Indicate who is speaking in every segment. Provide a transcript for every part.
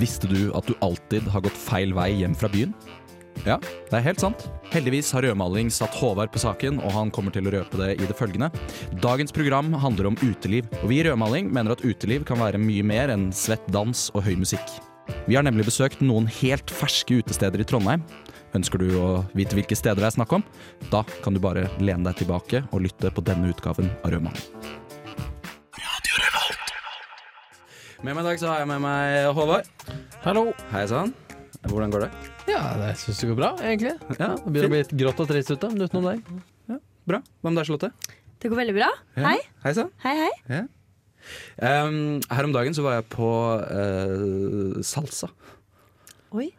Speaker 1: Visste du at du alltid har gått feil vei hjem fra byen? Ja, det er helt sant. Heldigvis har rødmaling satt Håvard på saken, og han kommer til å røpe det i det følgende. Dagens program handler om uteliv, og vi i Rødmaling mener at uteliv kan være mye mer enn svett dans og høy musikk. Vi har nemlig besøkt noen helt ferske utesteder i Trondheim. Ønsker du å vite hvilke steder det er snakk om? Da kan du bare lene deg tilbake og lytte på denne utgaven av Rødmaling. Med meg i dag så har jeg med meg Håvard.
Speaker 2: Hallo.
Speaker 1: Hei sann. Hvordan går det?
Speaker 2: Ja, det syns det går bra, egentlig.
Speaker 1: Ja,
Speaker 2: Det begynner å bli litt grått og trist ute, men utenom deg.
Speaker 1: Bra. Hva med deg, Charlotte?
Speaker 3: Det går veldig bra. Hei,
Speaker 1: Hei sann.
Speaker 3: hei, hei.
Speaker 1: Ehm, her om dagen så var jeg på eh, salsa.
Speaker 3: Oi.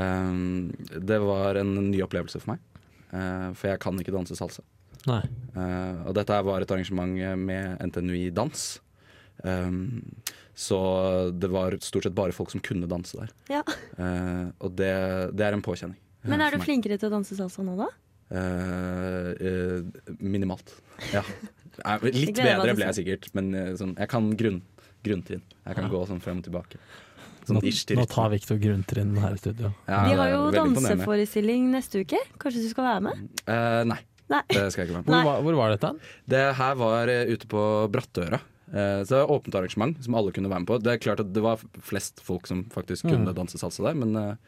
Speaker 1: Ehm, det var en ny opplevelse for meg, eh, for jeg kan ikke danse salsa.
Speaker 2: Nei.
Speaker 1: Eh, og dette her var et arrangement med NTNU i dans. Ehm, så det var stort sett bare folk som kunne danse der.
Speaker 3: Ja.
Speaker 1: Eh, og det, det er en påkjenning. eh,
Speaker 3: Men er
Speaker 1: for
Speaker 3: du
Speaker 1: meg.
Speaker 3: flinkere til å danse salsa nå, da?
Speaker 1: Eh, eh, minimalt. Ja. Eh, Litt
Speaker 3: gleder meg
Speaker 1: bedre
Speaker 3: til
Speaker 1: ble jeg
Speaker 3: å
Speaker 1: sikkert, men eh, sånn, jeg kan grunn, grunntrinn. Jeg kan gå sånn frem og tilbake. Sånn
Speaker 2: Nå,
Speaker 1: ish til
Speaker 2: nå
Speaker 1: rytmen.
Speaker 2: tar Viktor grunntrinn her i studio.
Speaker 1: Ja,
Speaker 3: Vi
Speaker 1: det
Speaker 3: har
Speaker 1: er
Speaker 3: jo
Speaker 1: veldig imponerende.
Speaker 3: danseforestilling neste uke. Kanskje du skal være med?
Speaker 1: Eh, nei,
Speaker 3: Nei.
Speaker 1: det skal jeg ikke være med på.
Speaker 2: Hvor,
Speaker 3: Nei.
Speaker 2: var- hvor var dette?
Speaker 1: Det her var eh, ute på Brattøra. Eh, så det var åpent arrangement som alle kunne være med på. Det er klart at det var flest folk som faktisk
Speaker 3: Mm.
Speaker 1: kunne danse salsa der, men eh,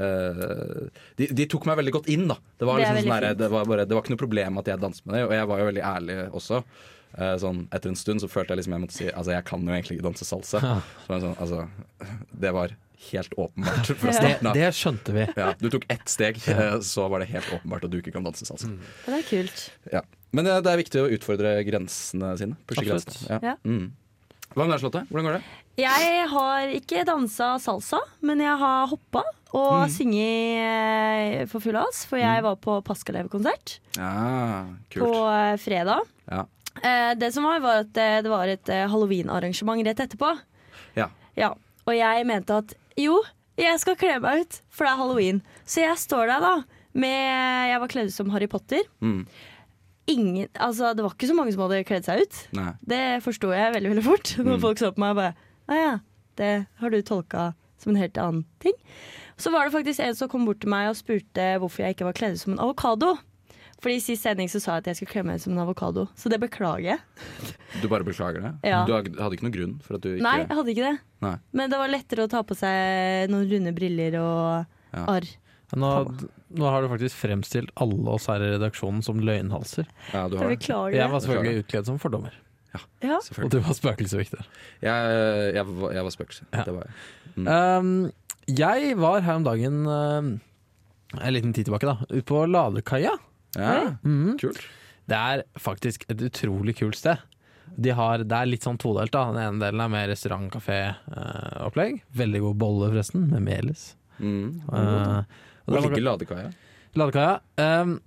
Speaker 1: eh, de, de tok meg veldig godt inn, da. Det var,
Speaker 3: Det er
Speaker 1: liksom sånn
Speaker 3: veldig
Speaker 1: der,
Speaker 3: fint.
Speaker 1: det, var bare, det var ikke noe problem at jeg danset med det, og jeg var jo veldig ærlig også. Eh, sånn, etter en stund så følte jeg liksom jeg måtte si Altså jeg kan jo egentlig ikke danse salsa.
Speaker 2: Ja.
Speaker 1: Så var jeg sånn, altså, det var helt åpenbart fra
Speaker 2: Det,
Speaker 1: starten av.
Speaker 2: det skjønte vi.
Speaker 1: Ja, du tok ett steg, eh, så var det helt åpenbart at du ikke kan danse salsa.
Speaker 3: Ja, Det er kult.
Speaker 1: Ja. Men eh, det er viktig å utfordre grensene sine. Pushe
Speaker 2: Absolutt.
Speaker 1: grensene. Ja.
Speaker 3: Ja.
Speaker 1: Mm. Hva med deg, Charlotte? Hvordan går det?
Speaker 3: Jeg har ikke dansa salsa, men jeg har hoppa og
Speaker 1: Mm.
Speaker 3: synget eh, for full hals. For jeg var på Paskalev-konsert
Speaker 1: Ja,
Speaker 3: på eh, fredag.
Speaker 1: Ja.
Speaker 3: Eh, Det som var, var at eh, det var et eh, halloween-arrangement rett etterpå.
Speaker 1: Ja.
Speaker 3: Ja, og jeg mente at jo, jeg skal kle meg ut, for det er halloween. Så jeg står der da med Jeg var kledd ut som Harry Potter.
Speaker 1: Mm.
Speaker 3: Ingen, altså, det var ikke så mange som hadde kledd seg ut.
Speaker 1: Nei.
Speaker 3: Det forsto jeg veldig veldig fort når
Speaker 1: Mm.
Speaker 3: folk så på meg og bare Å ja, det har du tolka som en helt annen ting. Så var det faktisk en som kom bort til meg og spurte hvorfor jeg ikke var kledd ut som en avokado. Fordi I sist sending så sa jeg at jeg skulle kle meg ut som en avokado, så det beklager jeg.
Speaker 1: Du bare beklager det?
Speaker 3: Ja.
Speaker 1: Du had- hadde ikke noen grunn for at du ikke
Speaker 3: Nei, jeg hadde ikke det.
Speaker 1: Nei.
Speaker 3: Men det var lettere å ta på seg noen runde briller og
Speaker 1: Ja.
Speaker 3: arr.
Speaker 2: Nå, nå har du faktisk fremstilt alle oss her i redaksjonen som løgnhalser.
Speaker 1: Ja, du har det.
Speaker 3: Beklager.
Speaker 2: Jeg var selvfølgelig utkledd som fordommer,
Speaker 3: Ja.
Speaker 2: og
Speaker 1: Selvfølgelig.
Speaker 2: du var spøkelse, Viktor.
Speaker 1: Jeg, jeg, var- jeg var spøkelse.
Speaker 2: Ja.
Speaker 1: Det var jeg.
Speaker 2: Um, jeg var her om dagen um, en liten tid tilbake, da, ute på Ladekaia.
Speaker 1: Ja,
Speaker 2: Mhm.
Speaker 1: kult.
Speaker 2: Det er faktisk et utrolig kult sted. De har, det er litt sånn todelt. da Den ene delen er med restaurant, kafé, eh, opplegg. Veldig god bolle, forresten, med melis.
Speaker 1: Mm.
Speaker 2: Eh, og
Speaker 1: Hvor
Speaker 2: der var-
Speaker 1: ligger ladekaia?
Speaker 2: Ladekaia. Ehm,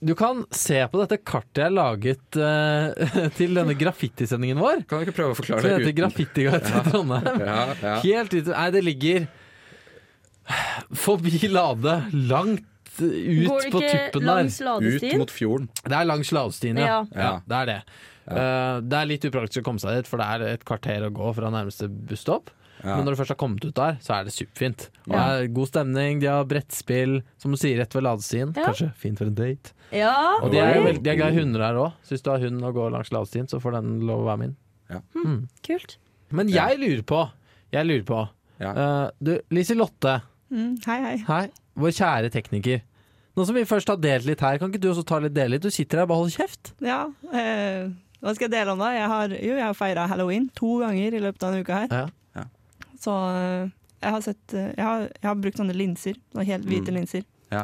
Speaker 2: du kan se på dette kartet jeg har laget eh, til denne graffitisendingen vår.
Speaker 1: Kan du ikke prøve å
Speaker 2: Som
Speaker 1: forklare det
Speaker 2: heter Graffitigata i Trondheim.
Speaker 1: Ja, ja.
Speaker 2: Helt ut Nei, det ligger forbi Lade. Langt
Speaker 3: Går
Speaker 2: ut
Speaker 3: det
Speaker 2: på
Speaker 3: ikke
Speaker 2: tuppen der.
Speaker 3: langs
Speaker 1: Ut
Speaker 3: ladestien?
Speaker 1: mot fjorden.
Speaker 2: Det er langs Ladestien, ja.
Speaker 3: Ja.
Speaker 2: ja. Det er det. Eh, det er litt upraktisk å komme seg dit, for det er et kvarter å gå fra nærmeste busstopp.
Speaker 1: Ja.
Speaker 2: Men når du først har kommet ut der, så er det superfint. Og
Speaker 3: Ja.
Speaker 2: det er god stemning, de har brettspill, som du sier, rett ved ladestien.
Speaker 3: Ja.
Speaker 2: Kanskje fint for en date.
Speaker 3: Ja.
Speaker 2: Og de
Speaker 1: Oi.
Speaker 2: er, jo veld- de er glad i hunder her òg. Så hvis du har hund og går langs ladestien, så får den lov å være min.
Speaker 3: Kult.
Speaker 2: Men
Speaker 1: Ja.
Speaker 2: jeg lurer på, jeg lurer på
Speaker 1: Ja.
Speaker 2: eh, Du, Liselotte,
Speaker 4: Mm, hei, hei.
Speaker 2: hei, vår kjære tekniker. Nå som vi først har delt litt her, kan ikke du også ta litt dele litt? Du sitter her og bare holder kjeft.
Speaker 4: Ja, eh, hva skal jeg dele om da? Jeg har, jo, jeg har feira halloween to ganger i løpet av denne uka her.
Speaker 2: Ja.
Speaker 1: Ja.
Speaker 4: Så eh, jeg har sett eh, jeg har, jeg har brukt sånne linser. Sånne helt hvite linser.
Speaker 1: Mm. Ja.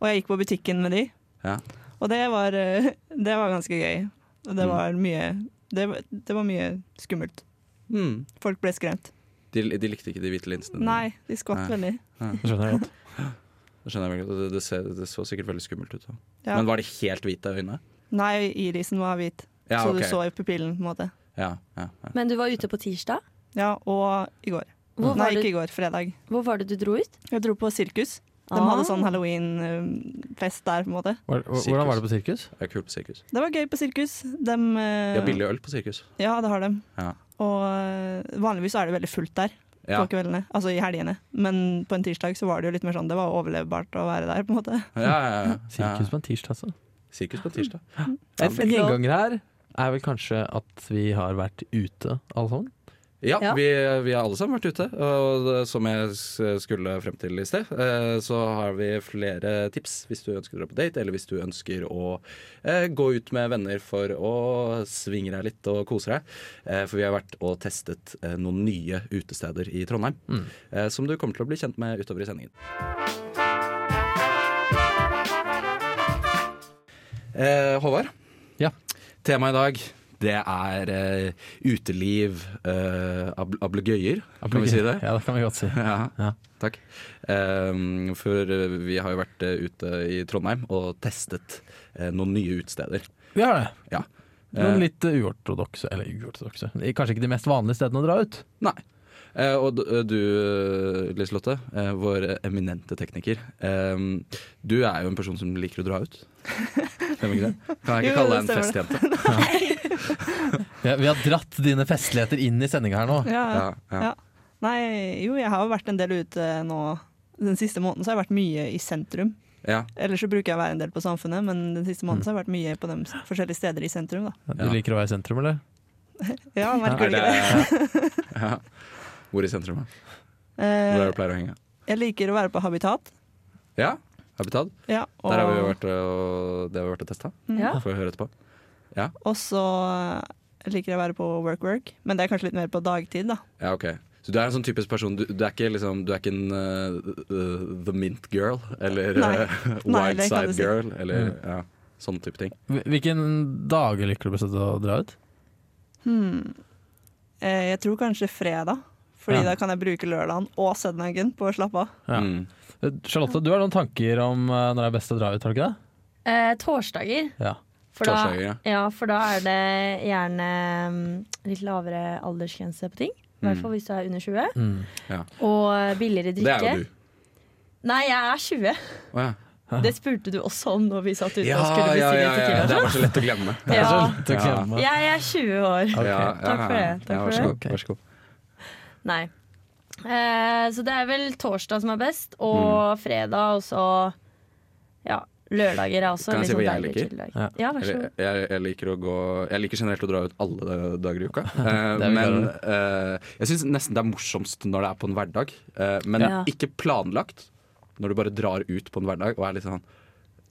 Speaker 4: Og jeg gikk på butikken med de.
Speaker 1: Ja.
Speaker 4: Og det var, eh, det var ganske gøy. Og det
Speaker 1: Mm.
Speaker 4: var mye det, var- det var mye skummelt.
Speaker 1: Mm.
Speaker 4: Folk ble skremt.
Speaker 1: De, de likte ikke de hvite linsene. dine.
Speaker 4: Nei, de
Speaker 1: Mm.
Speaker 4: skvatt
Speaker 1: Nei.
Speaker 4: veldig.
Speaker 2: Skjønner jeg godt.
Speaker 1: Det skjønner jeg veldig godt. Det, det, ser, det så sikkert veldig skummelt ut. da.
Speaker 4: Ja.
Speaker 1: Men var det helt hvite øyne?
Speaker 4: Nei, irisen var hvit,
Speaker 1: Ja,
Speaker 4: så
Speaker 1: ok.
Speaker 4: du så i pupillen på en måte.
Speaker 1: Ja, ja, ja.
Speaker 3: Men du var ute på tirsdag.
Speaker 4: Ja, og i går.
Speaker 3: Hvor
Speaker 4: Nei,
Speaker 3: var,
Speaker 4: ikke
Speaker 3: det,
Speaker 4: i går. Fredag.
Speaker 3: hvor var det du dro ut?
Speaker 4: Jeg dro på sirkus. De
Speaker 3: Ah.
Speaker 4: hadde sånn halloween-fest der, på en måte.
Speaker 2: Var- Hvordan var det på sirkus?
Speaker 1: Det er kult på sirkus.
Speaker 4: Det var gøy på sirkus. De, eh,
Speaker 1: De har billig øl på sirkus.
Speaker 4: ja, det har de.
Speaker 1: Ja.
Speaker 4: Og eh, vanligvis så er det veldig fullt der.
Speaker 1: Ja.
Speaker 4: på kveldene, altså i helgene. Men på en tirsdag så var det jo litt mer sånn, det var overlevbart å være der, på en måte.
Speaker 1: Ja, ja, ja.
Speaker 2: Sirkus på en tirsdag, altså.
Speaker 1: Ja. Sirkus på tirsdag.
Speaker 2: En en gjenganger her er vel kanskje at vi har vært ute, alle sammen.
Speaker 1: Ja,
Speaker 3: Ja.
Speaker 1: Vi, vi har alle sammen vært ute. Og det- som jeg s- skulle frem til i sted, eh, så har vi flere tips hvis du ønsker å dra på date, eller hvis du ønsker å eh, gå ut med venner for å svinge deg litt og kose deg. Eh, For vi har vært og testet eh, noen nye utesteder i Trondheim, eh, som du kommer til å bli kjent med utover i sendingen. Eh, Håvard?
Speaker 2: Ja.
Speaker 1: Temaet i dag det er eh, uteliv, eh, ab ablegøyer, kan vi si det?
Speaker 2: Ja, det kan vi godt si.
Speaker 1: Ja,
Speaker 2: Ja.
Speaker 1: takk. Eh, for eh, vi har jo vært eh, ute i Trondheim og testet eh, noen nye utesteder.
Speaker 2: Vi har det.
Speaker 1: Ja.
Speaker 2: Noen
Speaker 1: Eh,
Speaker 2: litt eh, uortodokse, eller uortodokse Kanskje ikke de mest vanlige stedene å dra ut.
Speaker 1: Nei. Eh, og d- du, eh, Liselotte, eh, vår eminente tekniker. eh, du er jo en person som liker å dra ut. Stemmer ikke det? Kan jeg ikke
Speaker 4: Jo,
Speaker 1: kalle
Speaker 4: det
Speaker 1: deg en
Speaker 4: stemmer
Speaker 1: festjente?
Speaker 2: Vi har, vi har dratt dine festligheter inn i sendinga her nå.
Speaker 1: Ja, ja.
Speaker 4: Ja. Nei, jo, jeg har jo vært en del ute nå. Den siste måneden så har jeg vært mye i sentrum.
Speaker 1: Ja.
Speaker 4: Ellers så bruker jeg å være en del på Samfunnet, men den siste
Speaker 1: Mm.
Speaker 4: måneden så har jeg vært mye på de s- forskjellige steder i sentrum, da.
Speaker 2: Du
Speaker 1: Ja.
Speaker 2: liker å være i sentrum, eller?
Speaker 4: Ja, merker
Speaker 1: Er
Speaker 4: du
Speaker 1: det
Speaker 4: ikke det?
Speaker 1: ja. Hvor i sentrum? da? Hvor er det
Speaker 4: Eh,
Speaker 1: du pleier å henge?
Speaker 4: jeg liker å være på Habitat.
Speaker 1: Ja, Habitat.
Speaker 4: Ja, og, Mm.
Speaker 1: Der har vi jo vært eh, og, det har vi vært og testa.
Speaker 3: Ja.
Speaker 1: Får vi høre etterpå.
Speaker 4: og så eh, liker jeg å være på Work Work, men det er kanskje litt mer på dagtid, da.
Speaker 1: Ja, ok Så du er en sånn typisk person. Du, du er ikke liksom Du er ikke en eh, The Mint Girl eller
Speaker 4: Nei.
Speaker 1: eh,
Speaker 4: Nei,
Speaker 1: Wild
Speaker 4: det kan du
Speaker 1: Side
Speaker 4: si.
Speaker 1: Girl eller
Speaker 2: Mm.
Speaker 1: ja, sånne type ting.
Speaker 2: Hvil- Hvilken dager liker du best å dra ut?
Speaker 4: Hmm. Eh, jeg tror kanskje fredag, fordi
Speaker 2: Ja.
Speaker 4: da kan jeg bruke lørdagen og søndagen på å slappe av.
Speaker 2: Ja.
Speaker 1: Mm.
Speaker 2: Eh, Charlotte, du har noen tanker om eh, når det er best å dra ut, har du ikke det?
Speaker 3: Eh, torsdager.
Speaker 2: Ja.
Speaker 3: For da,
Speaker 1: Torsdager, ja.
Speaker 3: for da er det gjerne mm, litt lavere aldersgrense på ting. I hvert fall hvis du er under 20.
Speaker 2: Mm.
Speaker 3: Og billigere
Speaker 1: Mm. Det
Speaker 3: drikke.
Speaker 1: er jo du.
Speaker 3: Nei, jeg er 20.
Speaker 1: Å ja.
Speaker 3: Det spurte du også om når vi satt ute
Speaker 1: Ja,
Speaker 3: og skulle
Speaker 1: ja,
Speaker 3: bestille
Speaker 1: ja, ja,
Speaker 3: tequila.
Speaker 1: Det var så lett å glemme.
Speaker 3: Ja.
Speaker 2: Det er så lett å glemme.
Speaker 3: Jeg er 20 år.
Speaker 2: Ok.
Speaker 1: Ja, ja,
Speaker 3: Takk for det, takk
Speaker 1: ja,
Speaker 3: for
Speaker 1: vær så
Speaker 3: det.
Speaker 1: god. Vær så god.
Speaker 3: Nei. Eh, så det er vel torsdag som er best,
Speaker 1: Mm.
Speaker 3: og fredag, og så ja, lørdager er også
Speaker 1: Kan jeg
Speaker 3: litt
Speaker 1: si hva
Speaker 3: sånn
Speaker 1: jeg
Speaker 3: deilig
Speaker 1: liker?
Speaker 3: chilldag.
Speaker 2: Ja.
Speaker 3: Ja, vær så
Speaker 1: Jeg,
Speaker 3: god.
Speaker 1: jeg, jeg liker å gå Jeg liker generelt å dra ut alle dager i uka. Eh,
Speaker 2: Det er vi
Speaker 1: men
Speaker 2: klar
Speaker 1: eh, jeg syns nesten det er morsomst når det er på en hverdag. Eh, men
Speaker 3: Ja.
Speaker 1: ikke planlagt. Når du bare drar ut på en hverdag og er litt sånn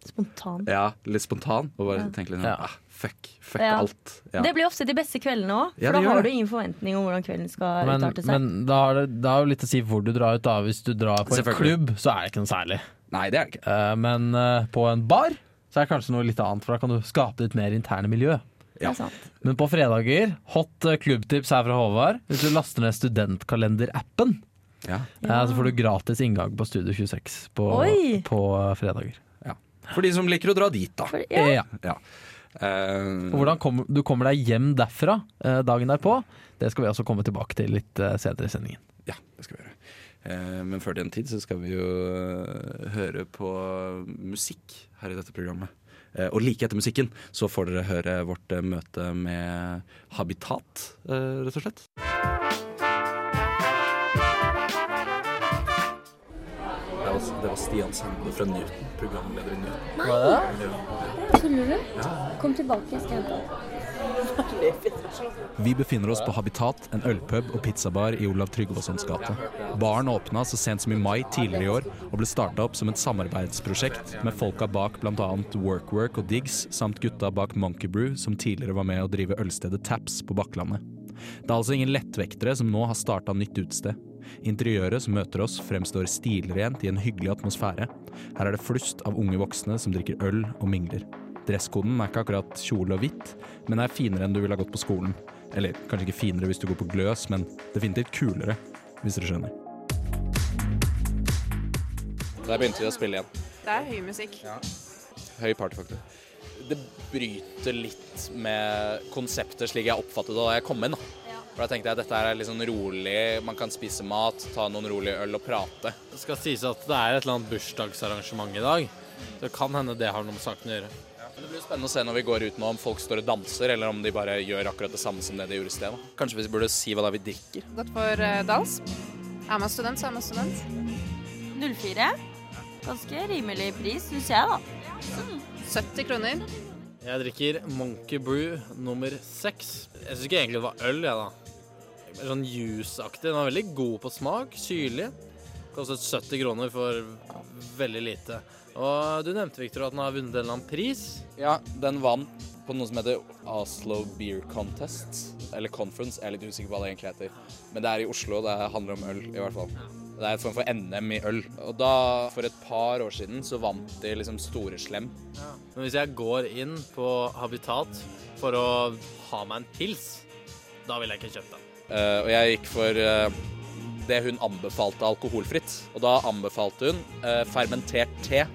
Speaker 3: Spontan.
Speaker 1: Ja, litt spontan. Og bare tenker litt sånn
Speaker 2: Ja.
Speaker 1: ah, Fuck, fuck
Speaker 3: Ja.
Speaker 1: alt. Ja.
Speaker 3: Det blir ofte de beste kveldene òg, for
Speaker 1: Ja, det
Speaker 3: da
Speaker 1: gjør
Speaker 3: har
Speaker 1: det.
Speaker 3: du ingen forventning om hvordan kvelden skal
Speaker 2: Men,
Speaker 3: utarte seg.
Speaker 2: men da har det, det har jo litt å si hvor du drar ut. da Hvis du drar på en
Speaker 1: Selvfølgelig.
Speaker 2: klubb, så er det ikke noe særlig.
Speaker 1: Nei, det er det ikke.
Speaker 2: Eh, men eh, på en bar så er det kanskje noe litt annet, for da kan du skape ditt mer interne miljø.
Speaker 3: Det
Speaker 1: Ja.
Speaker 3: er sant.
Speaker 2: Men på fredager, hot eh, klubbtips her fra Håvard. Hvis du laster ned studentkalenderappen,
Speaker 1: Ja.
Speaker 2: eh, så får du gratis inngang på Studio 26 på,
Speaker 3: Oi!
Speaker 2: på eh, fredager.
Speaker 1: Ja. For de som liker å dra dit, da.
Speaker 3: For, ja.
Speaker 2: Ja.
Speaker 1: Ja. Eh,
Speaker 2: Og hvordan kom, du kommer deg hjem derfra eh, dagen derpå, det skal vi også komme tilbake til litt eh, senere i sendingen.
Speaker 1: Ja, det skal vi gjøre. Eh, men før den tid så skal vi jo eh, høre på musikk her i dette programmet. Eh, og like etter musikken så får dere høre vårt eh, møte med Habitat, eh, rett og slett. Det var, Stian Sande fra Newton, programleder i Newton.
Speaker 5: Tuller du? Kom tilbake, jeg skal hente deg.
Speaker 1: Vi befinner oss på Habitat, en ølpub og pizzabar i Olav Tryggvasons gate. Baren åpna så sent som i mai tidligere i år, og ble starta opp som et samarbeidsprosjekt med folka bak bl.a. WorkWork og Diggs, samt gutta bak Monkey Brew, som tidligere var med å drive ølstedet Taps på Bakklandet. Det er altså ingen lettvektere som nå har starta nytt utested. Interiøret som møter oss, fremstår stilrent i en hyggelig atmosfære. Her er det flust av unge voksne som drikker øl og mingler. Dresskoden er ikke akkurat kjole og hvitt, men er finere enn du ville ha gått på skolen. Eller kanskje ikke finere hvis du går på gløs, men definitivt kulere, hvis dere skjønner. Der begynte vi å spille igjen.
Speaker 6: Det er høy musikk.
Speaker 1: Høy partyfaktor. Det bryter litt med konseptet slik jeg oppfattet det da jeg kom inn. da. For Da tenkte jeg at dette her er litt sånn rolig, man kan spise mat, ta noen rolige øl og prate.
Speaker 7: Det skal sies at det er et eller annet bursdagsarrangement i dag. Så det kan hende det har noe med saken å gjøre.
Speaker 1: Men Det blir spennende å se når vi går ut nå om folk står og danser, eller om de bare gjør akkurat det samme som det de gjorde i sted. da. Kanskje vi burde si hva det er vi drikker?
Speaker 6: Gått for eh, dans. Er man student, så er man student.
Speaker 3: 04. Ganske rimelig pris, syns jeg, da.
Speaker 6: 70 kroner.
Speaker 7: Jeg drikker Monkey Brew nummer seks. Jeg syns ikke egentlig det var øl, jeg, da. Mer sånn juiceaktig. Den var veldig god på smak. Syrlig. Kostet 70 kroner for veldig lite. Og du nevnte, Victor, at den har vunnet en eller annen pris.
Speaker 1: Ja, den vant på noe som heter Oslo Beer Contest. Eller Conference, jeg er litt usikker på hva det egentlig heter. Men det er i Oslo, det handler om øl i hvert fall. Det er et form for NM i øl. Og da, for et par år siden, så vant de liksom Store Slem.
Speaker 7: Men hvis jeg går inn på Habitat for å ha meg en pils, da ville jeg ikke kjøpt den.
Speaker 1: Eh, og jeg gikk for eh, det hun anbefalte alkoholfritt. Og da anbefalte hun eh, fermentert te,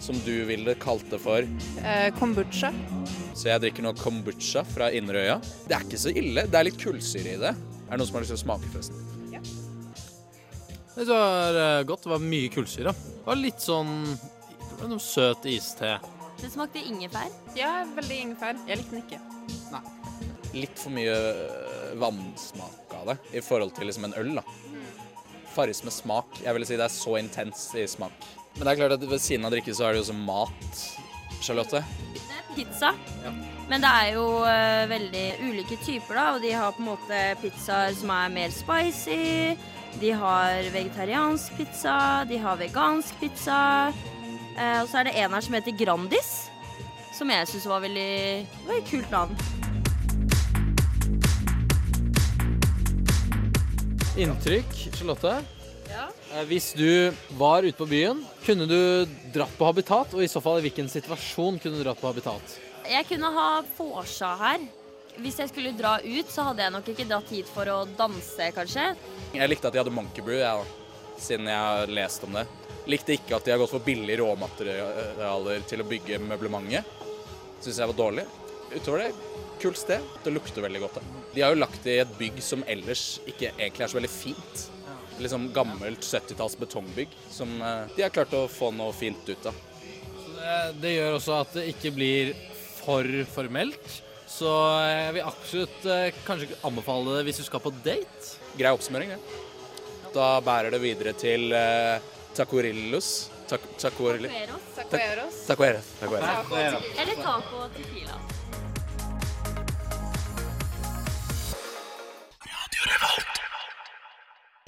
Speaker 1: som du ville kalt det for.
Speaker 6: Eh, kombucha.
Speaker 1: Så jeg drikker nå kombucha fra Inderøya. Det er ikke så ille. Det er litt kullsyre i det. Er det noen som har lyst til å smake, forresten?
Speaker 7: Det var eh, godt. Det var mye kullsyre. Det var litt sånn det var noe søt iste.
Speaker 3: Det smakte ingefær.
Speaker 6: Ja, veldig ingefær. Jeg likte den ikke.
Speaker 1: Litt for mye eh, vannsmak av det i forhold til liksom en øl, da. Farris med smak. Jeg vil si det er så intens i smak. Men det er klart at ved siden av drikke så er det jo også mat, Charlotte.
Speaker 3: Det er pizza. Men det er jo eh, veldig ulike typer, da. Og de har på en måte pizzaer som er mer spicy. De har vegetariansk pizza, de har vegansk pizza. Eh, og så er det en her som heter Grandis. Som jeg syns var veldig det var et kult navn.
Speaker 7: Inntrykk, Charlotte? Eh, Hvis du var ute på byen, kunne du dratt på Habitat? Og i så fall, i hvilken situasjon kunne du dratt på Habitat?
Speaker 3: Jeg kunne ha vorsa her. Hvis jeg skulle dra ut, så hadde jeg nok ikke dratt hit for å danse, kanskje.
Speaker 1: Jeg likte at de hadde Monkey Brew, jeg, da, siden jeg har lest om det. Likte ikke at de har gått for billige råmaterialer til å bygge møblementet. Syns jeg var dårlig. Utover det, kult sted. Det lukter veldig godt. Da. De har jo lagt det i et bygg som ellers ikke egentlig er så veldig fint. Liksom gammelt 70-talls betongbygg som eh, de har klart å få noe fint ut av.
Speaker 7: Det, det gjør også at det ikke blir for formelt. Så jeg vil absolutt eh, kanskje ikke anbefale det hvis du skal på date.
Speaker 1: Grei oppsummering, det. Da bærer det videre til eh, Tacorillos. Tak tacorili...
Speaker 6: Tacoeros.
Speaker 1: Tacoeres. Tacoeres.
Speaker 3: Eller taco og tequila.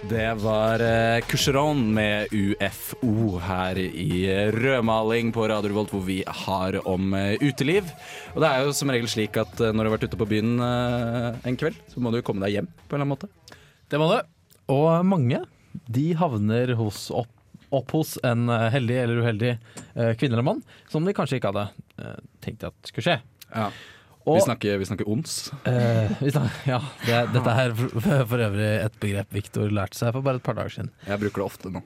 Speaker 1: Det var eh, Coucheron med UFO her i eh, Rødmaling på Radio Revolt, hvor vi har om eh, uteliv. Og det er jo som regel slik at eh, når du har vært ute på byen eh, en kveld, så må du jo komme deg hjem på en eller annen måte.
Speaker 2: Det må du. Og mange de havner hos opp, opp hos en eh, heldig eller uheldig eh, kvinne eller mann som de kanskje ikke hadde eh, tenkt at skulle skje.
Speaker 1: Ja.
Speaker 2: Og,
Speaker 1: Vi snakker, vi snakker ons.
Speaker 2: eh, vi snak- ja, det, dette er for, for øvrig et begrep Viktor lærte seg for bare et par dager siden.
Speaker 1: Jeg bruker det ofte nå.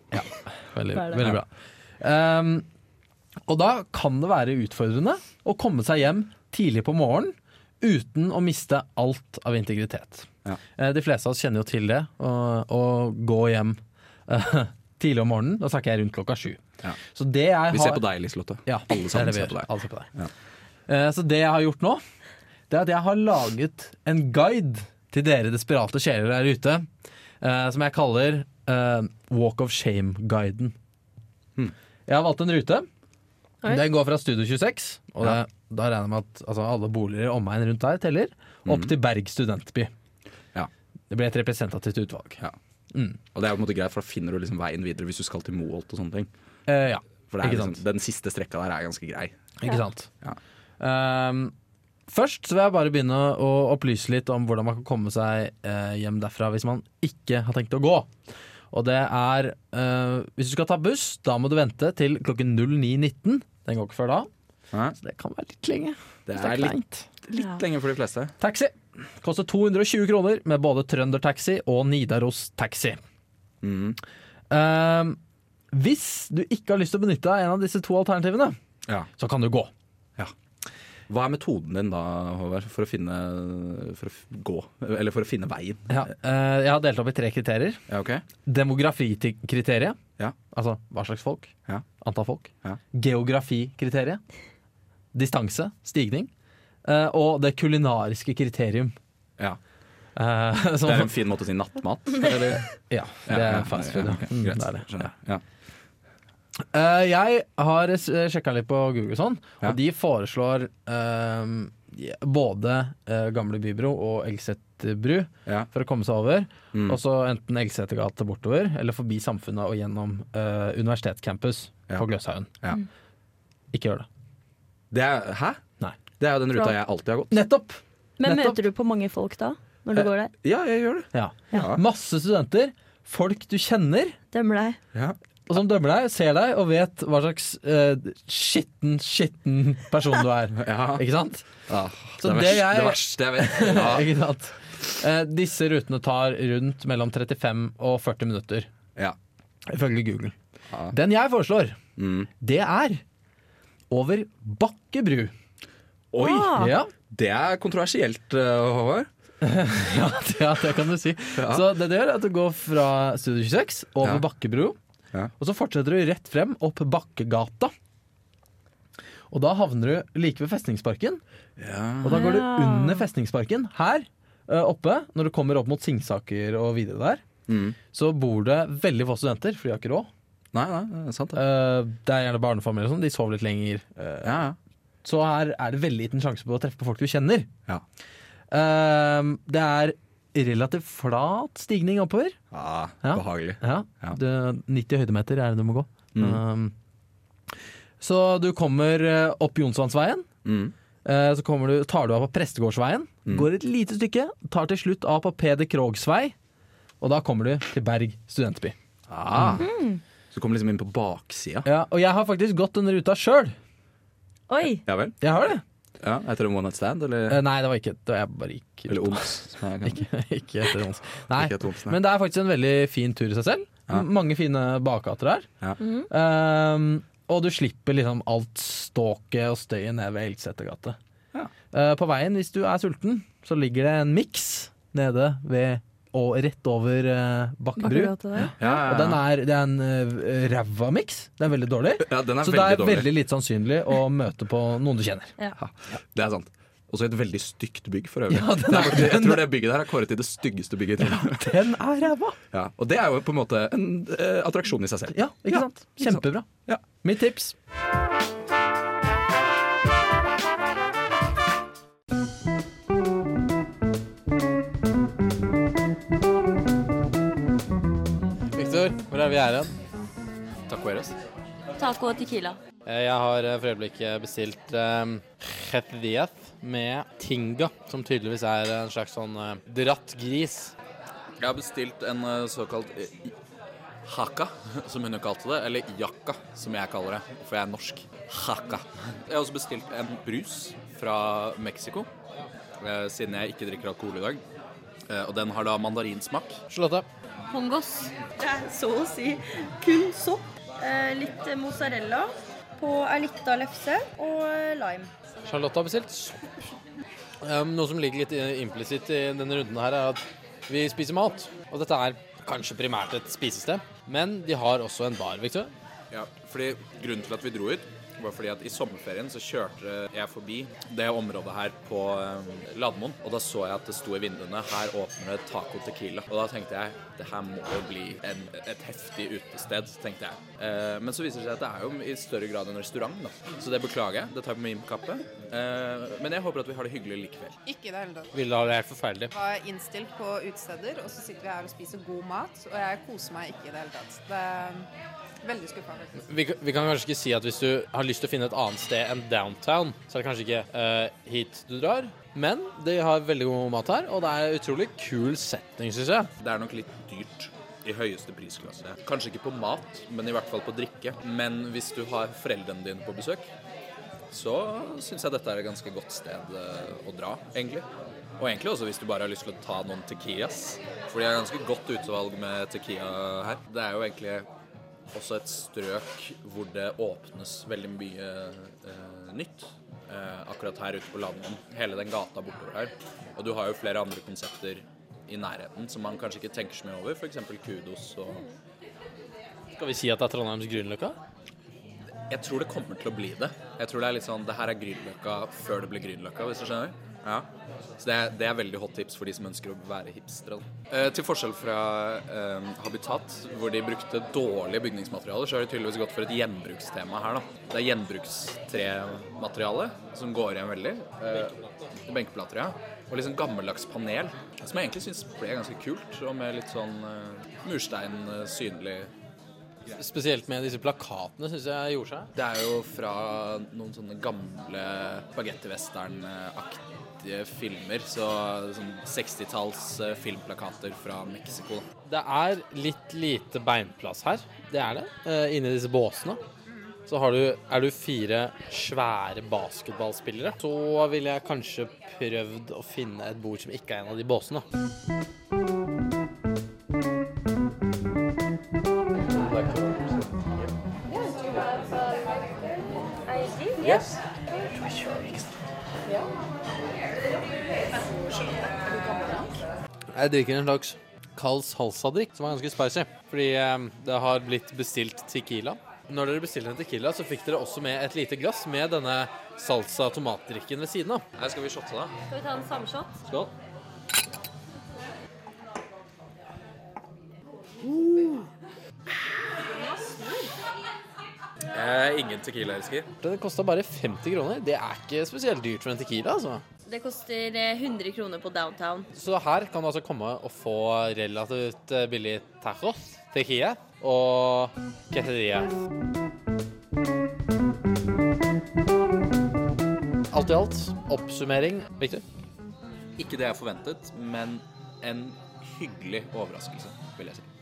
Speaker 2: Veldig,
Speaker 4: Det er det.
Speaker 2: veldig bra. Ehm, og da kan det være utfordrende å komme seg hjem tidlig på morgenen uten å miste alt av integritet.
Speaker 1: Ja.
Speaker 2: Eh, De fleste av oss kjenner jo til det, å å gå hjem eh, tidlig om morgenen. Da snakker jeg rundt klokka sju.
Speaker 1: Ja.
Speaker 2: Så det jeg har
Speaker 1: Vi ser på deg, Liselotte.
Speaker 2: ja,
Speaker 1: Alle sammen
Speaker 2: det
Speaker 1: ser på
Speaker 2: er det vi
Speaker 1: deg.
Speaker 2: gjør. Alle ser på deg. Eh, Så det jeg har gjort nå, det er at jeg har laget en guide til dere desperate sjeler der ute, eh, som jeg kaller eh, Walk of Shame-guiden.
Speaker 1: Hmm.
Speaker 2: Jeg har valgt en rute.
Speaker 3: Oi.
Speaker 2: Den går fra Studio 26, og
Speaker 1: Ja.
Speaker 2: det, da regner jeg med at altså, alle boliger i omegn rundt der teller, opp til Berg studentby.
Speaker 1: Hmm. Ja.
Speaker 2: Det blir et representativt utvalg.
Speaker 1: Ja. Og det er jo på en måte greit, for da finner du liksom veien videre hvis du skal til Moholt og sånne ting.
Speaker 2: Eh, ja.
Speaker 1: For det er
Speaker 2: Ikke
Speaker 1: liksom,
Speaker 2: sant.
Speaker 1: den siste strekka der er ganske grei.
Speaker 2: Ikke sant?
Speaker 1: Ja.
Speaker 2: Ehm, først så vil jeg bare begynne å opplyse litt om hvordan man kan komme seg eh, hjem derfra hvis man ikke har tenkt å gå. Og det er eh, Hvis du skal ta buss, da må du vente til klokken 09.19. Den går ikke før da.
Speaker 1: Nei.
Speaker 2: Så det kan være litt lenge.
Speaker 1: Det
Speaker 2: hvis
Speaker 1: er litt,
Speaker 2: kleint.
Speaker 3: Ja.
Speaker 1: litt lenge for de fleste.
Speaker 2: Taxi koster 220 kroner med både Trøndertaxi og Nidaros Taxi.
Speaker 1: Mhm.
Speaker 2: Ehm, hvis du ikke har lyst til å benytte deg av en av disse to alternativene,
Speaker 1: Ja.
Speaker 2: så kan du gå.
Speaker 1: Hva er metoden din da, Håvard, for å finne For å f- gå, eller for å finne veien?
Speaker 2: Ja, eh, jeg har delt opp i tre kriterier.
Speaker 1: Ja, ok?
Speaker 2: Demografikriteriet,
Speaker 1: Ja.
Speaker 2: altså hva slags folk,
Speaker 1: Ja.
Speaker 2: antall folk.
Speaker 1: Ja.
Speaker 2: Geografikriteriet, distanse, stigning. eh, og det kulinariske kriterium.
Speaker 1: Ja.
Speaker 2: Eh,
Speaker 1: Det er
Speaker 2: sånn,
Speaker 1: en fin måte å si nattmat. Eller?
Speaker 2: ja,
Speaker 1: Ja,
Speaker 2: det
Speaker 1: ja,
Speaker 2: er fast food.
Speaker 1: ja,
Speaker 2: ja.
Speaker 1: ok,
Speaker 2: Mm,
Speaker 1: greit.
Speaker 2: det er det.
Speaker 1: Skjønner. Ja.
Speaker 2: Eh, jeg har sjekka litt på Google, sånn,
Speaker 1: Ja.
Speaker 2: og de foreslår eh, både eh, Gamle Bybro og Elgseterbru
Speaker 1: Ja.
Speaker 2: for å komme seg over.
Speaker 1: Mm.
Speaker 2: Og så enten Elgsetergata bortover, eller forbi Samfunnet og gjennom eh, universitetscampus
Speaker 1: Ja.
Speaker 2: på Gløshaugen.
Speaker 1: Ja.
Speaker 2: Ikke gjør det.
Speaker 1: Det er, hæ?
Speaker 2: Nei.
Speaker 1: Det er jo den ruta jeg alltid har gått.
Speaker 2: Nettopp!
Speaker 3: Men
Speaker 2: Nettopp.
Speaker 3: møter du på mange folk da? Når du
Speaker 1: Eh.
Speaker 3: går der?
Speaker 1: Ja, jeg gjør det.
Speaker 2: Ja.
Speaker 1: Ja.
Speaker 2: Masse studenter. Folk du kjenner,
Speaker 3: Dømmer deg.
Speaker 1: Ja.
Speaker 2: og som dømmer deg, ser deg og vet hva slags eh, skitten, skitten person du er.
Speaker 1: Ja.
Speaker 2: Ikke sant?
Speaker 1: Ah,
Speaker 2: Så
Speaker 1: det, er
Speaker 2: det
Speaker 1: verst,
Speaker 2: jeg-
Speaker 1: det verste jeg vet. Ja.
Speaker 2: Ikke sant? Eh, disse rutene tar rundt mellom 35 og 40 minutter,
Speaker 1: Ja.
Speaker 2: ifølge Google.
Speaker 1: Ja.
Speaker 2: Den jeg foreslår,
Speaker 1: Mm.
Speaker 2: det er over Bakkebru.
Speaker 1: Oi!
Speaker 3: Ah.
Speaker 2: Ja,
Speaker 1: Det er kontroversielt, eh, Håvard.
Speaker 2: ja, det, ja, det kan du si.
Speaker 1: Ja.
Speaker 2: Så det du gjør, er at du går fra Studio 26 over
Speaker 1: Ja.
Speaker 2: Bakkebru,
Speaker 1: Ja.
Speaker 2: og så fortsetter du rett frem opp Bakkegata. Og da havner du like ved Festningsparken,
Speaker 1: Ja.
Speaker 2: og da går du
Speaker 3: Ah.
Speaker 2: under Festningsparken her eh, oppe, når du kommer opp mot Singsaker og videre der.
Speaker 1: Mm.
Speaker 2: så bor det veldig få studenter, for de har ikke råd.
Speaker 1: Nei, nei, det er sant det.
Speaker 2: Eh, det er gjerne barnefamilier og sånn, de sover litt lenger. Eh,
Speaker 1: Ja, ja.
Speaker 2: Så her er det veldig liten sjanse på å treffe på folk du kjenner.
Speaker 1: Ja.
Speaker 2: Eh, det er relativt flat stigning oppover.
Speaker 1: Ah,
Speaker 2: Ja.
Speaker 1: Behagelig.
Speaker 2: Ja,
Speaker 1: Ja.
Speaker 2: det- 90 høydemeter er det du må gå.
Speaker 1: Mm.
Speaker 2: Eh, så du kommer eh, opp Jonsvannsveien.
Speaker 1: Mm.
Speaker 2: Eh, Så kommer du, tar du av på Prestegårdsveien,
Speaker 1: Mm.
Speaker 2: går et lite stykke, tar til slutt av på Peder Krogs vei, og da kommer du til Berg studentby.
Speaker 1: Ah. Så du kommer liksom inn på baksida.
Speaker 2: Ja, og jeg har faktisk gått den ruta sjøl.
Speaker 3: Oi!
Speaker 1: Ja vel?
Speaker 2: Jeg har det.
Speaker 1: Ja, Heter det One Night Stand, eller,
Speaker 2: Eh, Nei, det var ikke det. var Jeg bare gikk
Speaker 1: eller OMS? Nei, jeg kan-
Speaker 2: Ikke, ikke etter Jons. Nei.
Speaker 1: ikke et OMS, nei.
Speaker 2: Men det er faktisk en veldig fin tur i seg selv.
Speaker 1: Ja.
Speaker 2: M- Mange fine bakgater der.
Speaker 1: Ja.
Speaker 2: Ehm, og du slipper liksom alt ståket og støyet ned ved Elgsetergate.
Speaker 1: Ja.
Speaker 2: Eh, på veien, hvis du er sulten, så ligger det en miks nede ved og rett over eh, Bakkebru.
Speaker 3: Bakkegata der.
Speaker 1: Ja, ja, ja.
Speaker 2: Og den er, det er en eh, ræva miks. Den er veldig dårlig.
Speaker 1: ja, den er
Speaker 2: Så det
Speaker 1: veldig
Speaker 2: er
Speaker 1: dårlig.
Speaker 2: veldig lite sannsynlig å møte på noen du kjenner.
Speaker 1: Det er sant. Også et veldig stygt bygg, for øvrig.
Speaker 2: Ja, den
Speaker 1: Det
Speaker 2: er-
Speaker 1: er faktisk- jeg tror det bygget der er kåret til det styggeste bygget i Trondheim.
Speaker 2: Den er ræva!
Speaker 1: Ja, og det er jo på en måte en eh, attraksjon i seg selv.
Speaker 2: Ja, ikke sant? Kjempebra.
Speaker 1: Ja.
Speaker 2: Mitt tips.
Speaker 7: Victor, hvor er vi her igjen? Tacoeros.
Speaker 3: Taco og tequila.
Speaker 7: Jeg har eh, for øyeblikket bestilt um, med tinga, som tydeligvis er en slags sånn eh, dratt gris.
Speaker 1: Jeg har bestilt en eh, såkalt eh, i- haka, som hun jo kalte det. Eller jakka, som jeg kaller det, for jeg er norsk. Haka. Jeg har også bestilt en brus fra Mexico, eh, siden jeg ikke drikker alkohol i dag. Eh, Og den har da mandarinsmak.
Speaker 7: Charlotte,
Speaker 3: Pongos. Det er så å si kun sopp. eh, litt mozzarella på ei lita lefse og eh, lime.
Speaker 7: Charlotte har bestilt sopp. Um, noe som ligger litt eh, implisitt i denne runden her, er at vi spiser mat. Og dette er kanskje primært et spisested, men de har også en bar, Victor.
Speaker 8: Ja, fordi grunnen til at vi dro ut var fordi at i sommerferien så kjørte jeg forbi det området her på eh, Lademoen, og da så jeg at det sto i vinduene her åpner det Taco Tequila. Og da tenkte jeg det her må jo bli en, et heftig utested, tenkte jeg. Eh, men så viser det seg at det er jo i større grad en restaurant, da. Så det beklager jeg. Det tar jeg på min kappe. Eh, men jeg håper at vi har det hyggelig likevel.
Speaker 6: Ikke i det hele tatt.
Speaker 7: Ville ha det helt forferdelig.
Speaker 6: Jeg var innstilt på utesteder, og så sitter vi her og spiser god mat, og jeg koser meg ikke i det hele tatt. Det er veldig skuffende. faktisk.
Speaker 7: Vi, vi kan kanskje ikke si at hvis du har lyst til å finne et annet sted enn downtown, så er det kanskje ikke eh, hit du drar. Men de har veldig god mat her, og det er utrolig kul setting, syns jeg.
Speaker 8: Det er nok litt dyrt i høyeste prisklasse. Kanskje ikke på mat, men i hvert fall på drikke. Men hvis du har foreldrene dine på besøk, så syns jeg dette er et ganske godt sted eh, å dra, egentlig. Og egentlig også hvis du bare har lyst til å ta noen tequilas. For de har ganske godt utvalg med tequila her. Det er jo egentlig også et strøk hvor det åpnes veldig mye eh, nytt. Eh, akkurat her ute på landet. Hele den gata bortover her. Og du har jo flere andre konsepter i nærheten som man kanskje ikke tenker så mye over. F.eks. Kudos og
Speaker 7: Skal vi si at det er Trondheims Grünerløkka?
Speaker 8: Jeg tror det kommer til å bli det. Jeg tror det er litt sånn Det her er Grünerløkka før det ble Grünerløkka, hvis du skjønner. Ja. Så det er, det er veldig hot tips for de som ønsker å være hipstere. da. Eh, til forskjell fra eh, Habitat, hvor de brukte dårlige bygningsmaterialer, så har de tydeligvis gått for et gjenbrukstema her. da. Det er gjenbrukstremateriale som går igjen veldig. Eh, benkeplater, ja. Og liksom gammeldags panel, som jeg egentlig syns ble ganske kult, og med litt sånn eh, murstein eh, synlig.
Speaker 7: Spesielt med disse plakatene syns jeg gjorde seg.
Speaker 8: Det er jo fra noen sånne gamle baguette-western-aktige filmer. Så sånn 60-talls eh, filmplakater fra Mexico. da.
Speaker 7: Det er litt lite beinplass her. Det er det. Eh, inni disse båsene. Så har du, er du fire svære basketballspillere. Så ville jeg kanskje prøvd å finne et bord som ikke er en av de båsene. Jeg drikker en slags kald salsa-drikk som er ganske spicy. Fordi eh, det har blitt bestilt tequila. Når dere bestilte en tequila, så fikk dere også med et lite glass med denne salsa-tomatdrikken ved siden av.
Speaker 8: Her skal vi shotte, da.
Speaker 3: Skal vi ta en samshot?
Speaker 7: Skål.
Speaker 8: Jeg er ingen tequila-elsker.
Speaker 7: Den kosta bare 50 kroner. Det er ikke spesielt dyrt for en tequila, altså.
Speaker 3: Det koster eh, 100 kroner på downtown.
Speaker 7: Så her kan du altså komme og få relativt eh, billig tacos, tequila og quesadilla. Alt i alt, oppsummering. Victor?
Speaker 8: Ikke det jeg forventet, men en hyggelig overraskelse, vil jeg si.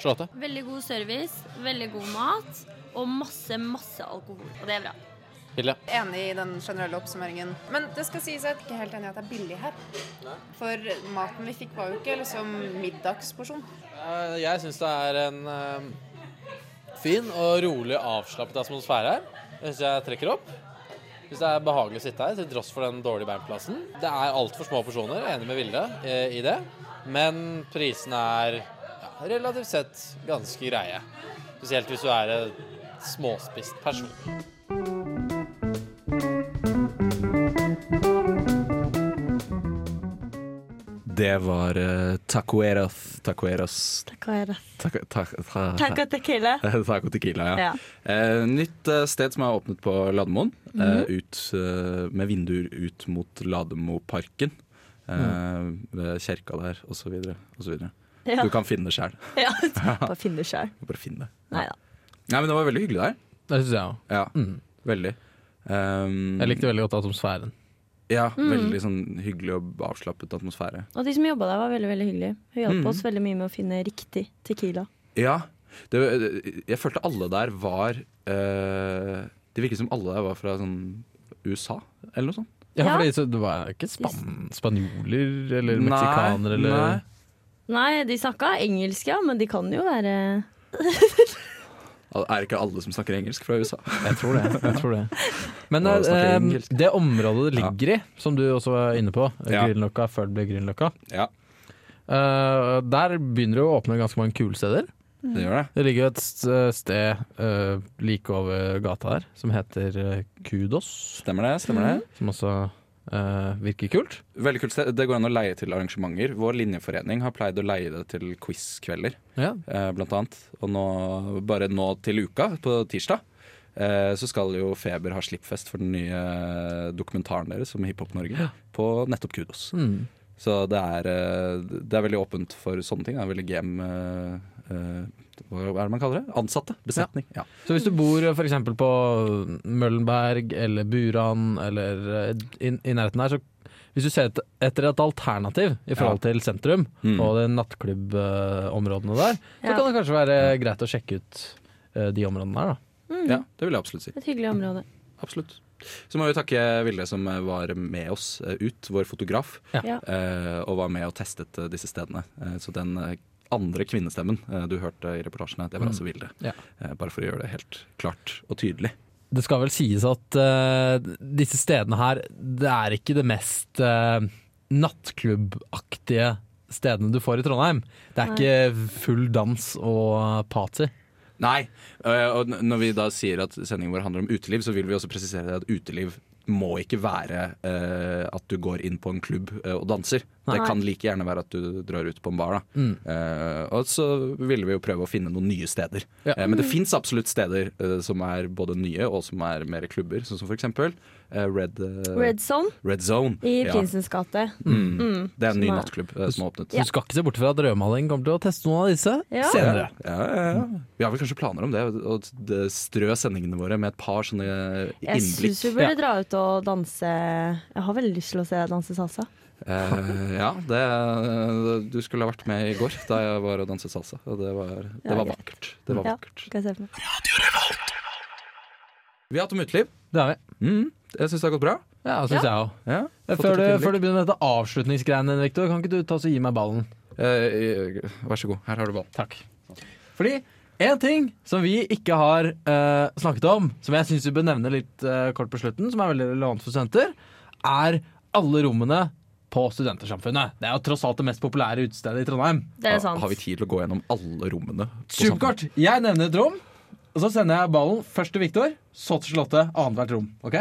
Speaker 7: Charlotte?
Speaker 3: Veldig god service, veldig god mat og masse, masse alkohol. Og det er bra.
Speaker 7: Hilde?
Speaker 6: Enig i den generelle oppsummeringen. Men det skal sies at jeg er ikke helt enig i at det er billig her. For maten vi fikk var jo ikke liksom middagsporsjon.
Speaker 7: Eh, Jeg syns det er en eh, fin og rolig avslappet atmosfære her. Jeg syns jeg trekker opp. Synes det er behagelig å sitte her, til tross for den dårlige beinplassen. Det er altfor små porsjoner, jeg er enig med Vilde eh, i det. Men prisene er ja, relativt sett ganske greie. Spesielt hvis du er en småspist person.
Speaker 1: Det var uh, Tacueras Tacueras Taco, ta, ta,
Speaker 3: Taco tequila.
Speaker 1: Taco tequila, ja.
Speaker 3: Ja.
Speaker 1: Eh, nytt eh, sted som er åpnet på Lademoen, eh, ut, eh, med vinduer ut mot Lademoparken. Eh, ved Kjerka der, og så videre, og så videre.
Speaker 3: Ja.
Speaker 1: Du kan finne det sjæl.
Speaker 3: ja. Bare finn det sjøl.
Speaker 1: Bare finn det.
Speaker 3: Nei da.
Speaker 1: Nei, men det var veldig hyggelig der.
Speaker 2: Det syns jeg òg.
Speaker 1: Ja, veldig. Um,
Speaker 2: Jeg likte veldig godt atmosfæren.
Speaker 1: Ja, veldig sånn hyggelig og avslappet atmosfære.
Speaker 3: Og de som jobba der, var veldig veldig hyggelige. Hun hjalp oss veldig mye med å finne riktig tequila.
Speaker 1: Ja, det, jeg følte alle der var eh, Det virket som alle der var fra sånn USA, eller noe sånt.
Speaker 2: Ja,
Speaker 3: Ja.
Speaker 2: fordi så Det var ikke span spanjoler eller meksikaner eller
Speaker 1: Nei,
Speaker 3: Nei, de snakka engelsk, ja, men de kan jo være
Speaker 1: nei. Er det ikke alle som snakker engelsk fra USA?
Speaker 2: Jeg tror det. jeg tror det Men
Speaker 1: Å, snakke
Speaker 2: eh,
Speaker 1: engelsk.
Speaker 2: det området det ligger i, som du også var inne på, eh,
Speaker 1: Ja.
Speaker 2: Grünerløkka før det ble Grünerløkka,
Speaker 1: Ja,
Speaker 2: eh, der begynner det å åpne ganske mange kule steder.
Speaker 1: det gjør det.
Speaker 2: Det ligger jo et st- sted eh, like over gata der som heter eh, Kudos,
Speaker 1: Stemmer det. stemmer det
Speaker 2: som også eh, virker kult.
Speaker 1: Veldig kult sted. Det går an å leie til arrangementer. Vår linjeforening har pleid å leie det til quiz-kvelder.
Speaker 2: Ja.
Speaker 1: eh, blant annet. Og nå, bare nå til uka, på tirsdag, eh, så skal jo Feber ha slippfest for den nye dokumentaren deres om Hiphop Norge på nettopp Kudos.
Speaker 2: Mm.
Speaker 1: Så det er, eh, det er veldig åpent for sånne ting. Det er veldig game eh, eh, Hva er det man kaller det? Ansatte? Besetning. Ja.
Speaker 2: Så hvis du bor f.eks. på Møllenberg eller Buran eller eh, i, i nærheten her, så hvis du ser et, etter et alternativ i forhold til sentrum
Speaker 1: Mm.
Speaker 2: og de nattklubbområdene der, så
Speaker 3: Ja.
Speaker 2: kan det kanskje være greit å sjekke ut eh, de områdene der, da.
Speaker 1: ja, det vil jeg absolutt si.
Speaker 3: Mm. et hyggelig område.
Speaker 1: Absolutt. Så må vi takke Vilde som var med oss eh, ut, vår fotograf,
Speaker 2: Ja.
Speaker 3: Ja.
Speaker 1: eh, og var med og testet eh, disse stedene. Eh, Så den eh, andre kvinnestemmen eh, du hørte i reportasjene, det var altså Vilde.
Speaker 2: Mm. Ja.
Speaker 1: Eh, Bare for å gjøre det helt klart og tydelig.
Speaker 2: det skal vel sies at eh, disse stedene her, det er ikke det mest eh, nattklubbaktige stedene du får i Trondheim. Det er ikke full dans og party.
Speaker 1: eh, Nei, eh, og n- når vi da sier at sendingen vår handler om uteliv, så vil vi også presisere det at uteliv må ikke være eh, at du går inn på en klubb eh, og danser. Det
Speaker 3: Nei.
Speaker 1: kan like gjerne være at du drar ut på en bar. Da.
Speaker 2: Mm.
Speaker 1: Eh, og så ville vi jo prøve å finne noen nye steder.
Speaker 2: Ja.
Speaker 1: Eh, men det fins absolutt steder eh, som er både nye og som er mer klubber, sånn som for eksempel eh, Red, eh,
Speaker 3: Red Zone
Speaker 1: Red Zone.
Speaker 3: i
Speaker 1: Ja.
Speaker 3: Prinsens gate.
Speaker 1: Mm.
Speaker 3: Mm.
Speaker 1: Det er en ny
Speaker 3: Som er-
Speaker 1: nattklubb eh, som har åpnet.
Speaker 2: Så Du skal ikke se bort fra at Rødmaling kommer til å teste noen av disse
Speaker 3: Ja.
Speaker 2: senere.
Speaker 1: Ja, ja, ja. Vi har vel kanskje planer om det, å d- strø sendingene våre med et par sånne
Speaker 3: Jeg syns
Speaker 1: innblikk.
Speaker 3: vi burde dra ut og danse Jeg har veldig lyst til å se deg danse salsa.
Speaker 1: Eh, ja, det, du skulle ha vært med i går da jeg var og danset salsa. Og det var, det
Speaker 3: Ja,
Speaker 1: var
Speaker 3: greit.
Speaker 1: vakkert. Det var
Speaker 3: Ja.
Speaker 1: vakkert.
Speaker 3: Skal jeg se for meg.
Speaker 1: Vi har hatt om uteliv.
Speaker 2: Det har vi.
Speaker 1: Mm, jeg syns det har gått bra.
Speaker 2: Ja, synes jeg også.
Speaker 1: Ja, fått
Speaker 2: Før,
Speaker 1: et
Speaker 2: du,
Speaker 1: innblikk.
Speaker 2: før du begynner med dette avslutningsgreiene, Victor, kan ikke du ta så gi meg ballen?
Speaker 1: Eh, eh, Vær så god, her har du ball.
Speaker 2: Takk. Fordi en ting som vi ikke har eh, snakket om, som jeg syns vi bør nevne litt eh, kort på slutten, som er veldig relevant for studenter, er alle rommene på Studentersamfunnet. Det er jo tross alt det mest populære utestedet i Trondheim.
Speaker 3: Det er sant.
Speaker 1: Har vi tid til å gå gjennom alle rommene? på
Speaker 2: Superkort! Jeg nevner et rom, og så sender jeg ballen først til Victor, så til Charlotte. Annethvert rom. Ok?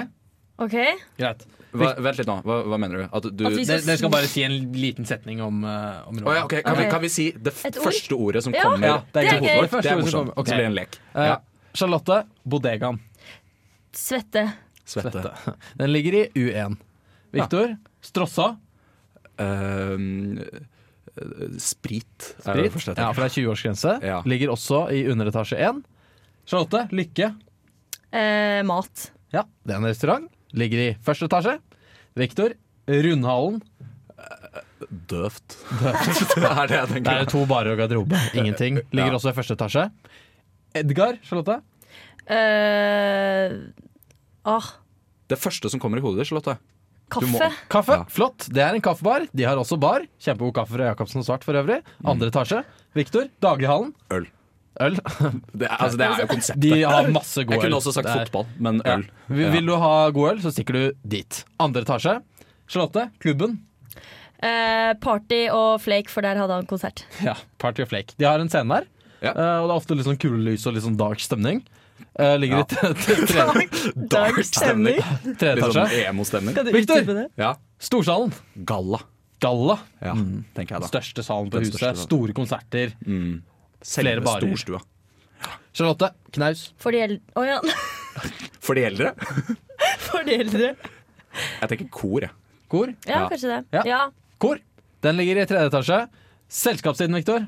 Speaker 3: OK.
Speaker 2: Greit.
Speaker 1: sammen? Hva, vent litt nå, hva, hva mener du? At du
Speaker 3: At vi
Speaker 2: Dere, dere skal bare si en liten setning om, eh, om rommet.
Speaker 1: Å ja, ok, kan,
Speaker 3: Ok.
Speaker 1: Vi, kan vi si det f
Speaker 3: Et ord?
Speaker 1: første ordet som
Speaker 3: Ja.
Speaker 1: kommer
Speaker 2: Ja, det er
Speaker 1: til
Speaker 2: gøy.
Speaker 1: hodet
Speaker 2: Det
Speaker 1: vårt?
Speaker 2: første
Speaker 1: Det er
Speaker 2: ordet som
Speaker 1: morsomt.
Speaker 2: kommer. Ok.
Speaker 1: Så blir det en lek.
Speaker 2: Eh,
Speaker 1: Ja.
Speaker 2: Charlotte, bodegaen.
Speaker 3: Svette.
Speaker 1: Svette.
Speaker 2: Den ligger i U1. Victor, Strossa.
Speaker 1: Ehm, Eh, eh, sprit er det
Speaker 2: Sprit.
Speaker 1: første jeg
Speaker 2: Ja,
Speaker 1: tenker.
Speaker 2: for det er 20-årsgrense.
Speaker 1: Ja.
Speaker 2: Ligger også i underetasje 1. Charlotte, Lykke.
Speaker 3: Eh, mat.
Speaker 2: Ja, det er en restaurant. Ligger i første etasje. Victor, Rundhallen.
Speaker 1: Døvt. det er det jeg
Speaker 2: Der er
Speaker 1: tenker.
Speaker 2: det to barer og garderobe. Ingenting. Ligger også i første etasje. Edgar, Charlotte.
Speaker 3: Eh, ah,
Speaker 1: Det første som kommer i hodet ditt, Charlotte. Du må-
Speaker 3: kaffe.
Speaker 2: Kaffe,
Speaker 1: Ja.
Speaker 2: flott. Det er en kaffebar. De har også bar. Kjempegod kaffe fra Jacobsen og Svart for øvrig.
Speaker 1: Mm.
Speaker 2: Andre etasje. Victor, Daglighallen.
Speaker 1: Øl.
Speaker 2: Øl.
Speaker 1: Det er, altså, det er jo konseptet.
Speaker 2: De har masse god øl.
Speaker 1: Jeg kunne også sagt
Speaker 2: Det er-
Speaker 1: fotball, men
Speaker 2: Ja.
Speaker 1: øl.
Speaker 2: Vil, vil du ha god øl, så stikker du dit. Andre etasje. Charlotte, klubben.
Speaker 3: Eh, party og Flake, for der hadde han konsert.
Speaker 2: Ja, Party of Flake. De har en scene der.
Speaker 1: Ja.
Speaker 2: eh, og det er ofte litt sånn kule lys og litt sånn dark stemning. Eh, ligger i tre, tre, tre,
Speaker 1: Dark stemning.
Speaker 2: tre
Speaker 1: Litt sånn
Speaker 2: etasje.
Speaker 1: emo-stemning.
Speaker 2: Victor!
Speaker 1: Ja.
Speaker 2: Storsalen.
Speaker 1: Galla,
Speaker 2: Galla.
Speaker 1: ja, tenker jeg da.
Speaker 2: Største salen Mm. på
Speaker 1: Den
Speaker 2: huset.
Speaker 1: største, da.
Speaker 2: Store konserter.
Speaker 1: Selve
Speaker 2: barer.
Speaker 1: storstua.
Speaker 2: Charlotte, knaus.
Speaker 3: For de eldre Å ja.
Speaker 1: For de eldre?
Speaker 3: For de eldre.
Speaker 1: Jeg tenker kor, jeg.
Speaker 2: Kor.
Speaker 3: Ja,
Speaker 1: Ja.
Speaker 3: kanskje det.
Speaker 2: Ja.
Speaker 3: Ja.
Speaker 2: Kor. Den ligger i tredje etasje. Selskapssiden, Victor.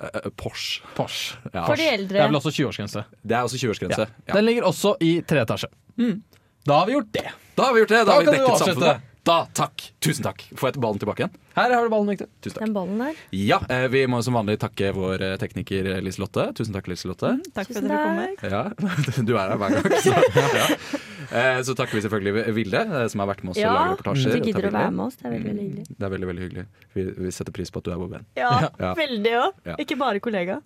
Speaker 1: Eh, Porsche.
Speaker 2: Porsche.
Speaker 1: Ja.
Speaker 3: For de
Speaker 2: Det er vel
Speaker 3: eldre.
Speaker 2: også 20-årsgrense.
Speaker 1: Det er også 20-årsgrense. Ja.
Speaker 2: Den ligger også i tredje etasje.
Speaker 3: Mm.
Speaker 2: Da har vi gjort det.
Speaker 1: Da har vi gjort det! Da
Speaker 2: Da
Speaker 1: har vi
Speaker 2: kan du
Speaker 1: dekket
Speaker 2: avslutte.
Speaker 1: samfunnet. Da, takk. Tusen takk. Får jeg ballen tilbake igjen?
Speaker 2: Her har du ballen, Victor.
Speaker 1: Tusen takk.
Speaker 3: Den ballen der.
Speaker 1: Ja, eh, Vi må som vanlig takke vår eh, tekniker eh, Liselotte. Tusen takk, Liselotte.
Speaker 4: Takk for
Speaker 3: Tusen
Speaker 4: at dere kom.
Speaker 3: takk.
Speaker 1: Ja, Du er her hver gang. Så, ja. Eh, så takker vi selvfølgelig Vilde, eh, som har vært med oss
Speaker 3: Ja,
Speaker 1: og laget reportasjer.
Speaker 3: Hvis du gidder
Speaker 1: Takk, Mm. Vilde.
Speaker 3: å være med oss, det er veldig, veldig hyggelig.
Speaker 1: Det er veldig, veldig hyggelig. Vi, vi setter pris på at du er vår venn.
Speaker 3: Ja,
Speaker 1: Ja.
Speaker 3: veldig òg.
Speaker 1: Ja.
Speaker 3: Ikke bare kollega.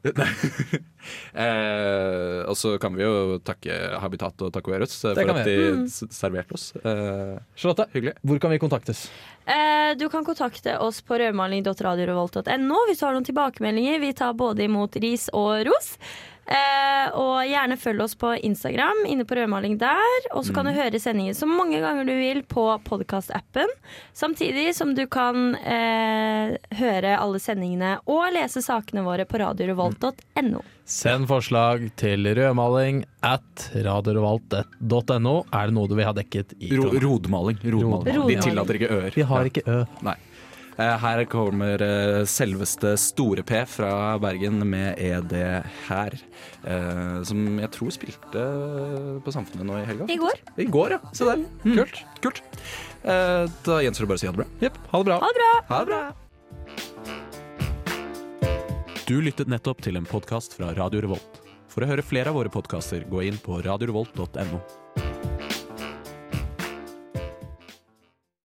Speaker 1: Eh, og så kan vi jo takke Habitat og Taco Eros eh, for
Speaker 2: kan
Speaker 1: at
Speaker 2: vi.
Speaker 1: de
Speaker 3: Mm.
Speaker 1: s- serverte oss. Eh,
Speaker 2: Charlotte,
Speaker 1: hyggelig.
Speaker 2: hvor kan vi kontaktes?
Speaker 3: Eh, Du kan kontakte oss på rødmaling.radiorevolt.no hvis du har noen tilbakemeldinger. Vi tar både imot ris og ros. Eh, og gjerne følg oss på Instagram, inne på rødmaling der. Og så kan du høre sendingen så mange ganger du vil på podkastappen. Samtidig som du kan eh, høre alle sendingene og lese sakene våre på radiorevolt.no.
Speaker 2: Send forslag til rødmaling at radiorevolt.no. Er det noe du vil ha dekket i
Speaker 1: Ro, rodmaling. rodmaling.
Speaker 3: Rodmaling.
Speaker 1: De tillater ikke øer.
Speaker 2: Vi har ikke Ø.
Speaker 1: Nei. Eh, Her kommer eh, selveste Store P fra Bergen med ED her. eh, Som jeg tror spilte på Samfunnet nå i helga.
Speaker 3: I går.
Speaker 1: I går, ja. Se der.
Speaker 2: Mm.
Speaker 1: Kult. Kult. Eh, Da gjenstår det bare å si ha det bra.
Speaker 2: Jepp. Ha det bra.
Speaker 3: Ha det bra!
Speaker 1: Ha det bra! Du lyttet nettopp til en podkast fra Radio Revolt. For å høre flere av våre podkaster, gå inn på radiorevolt.no.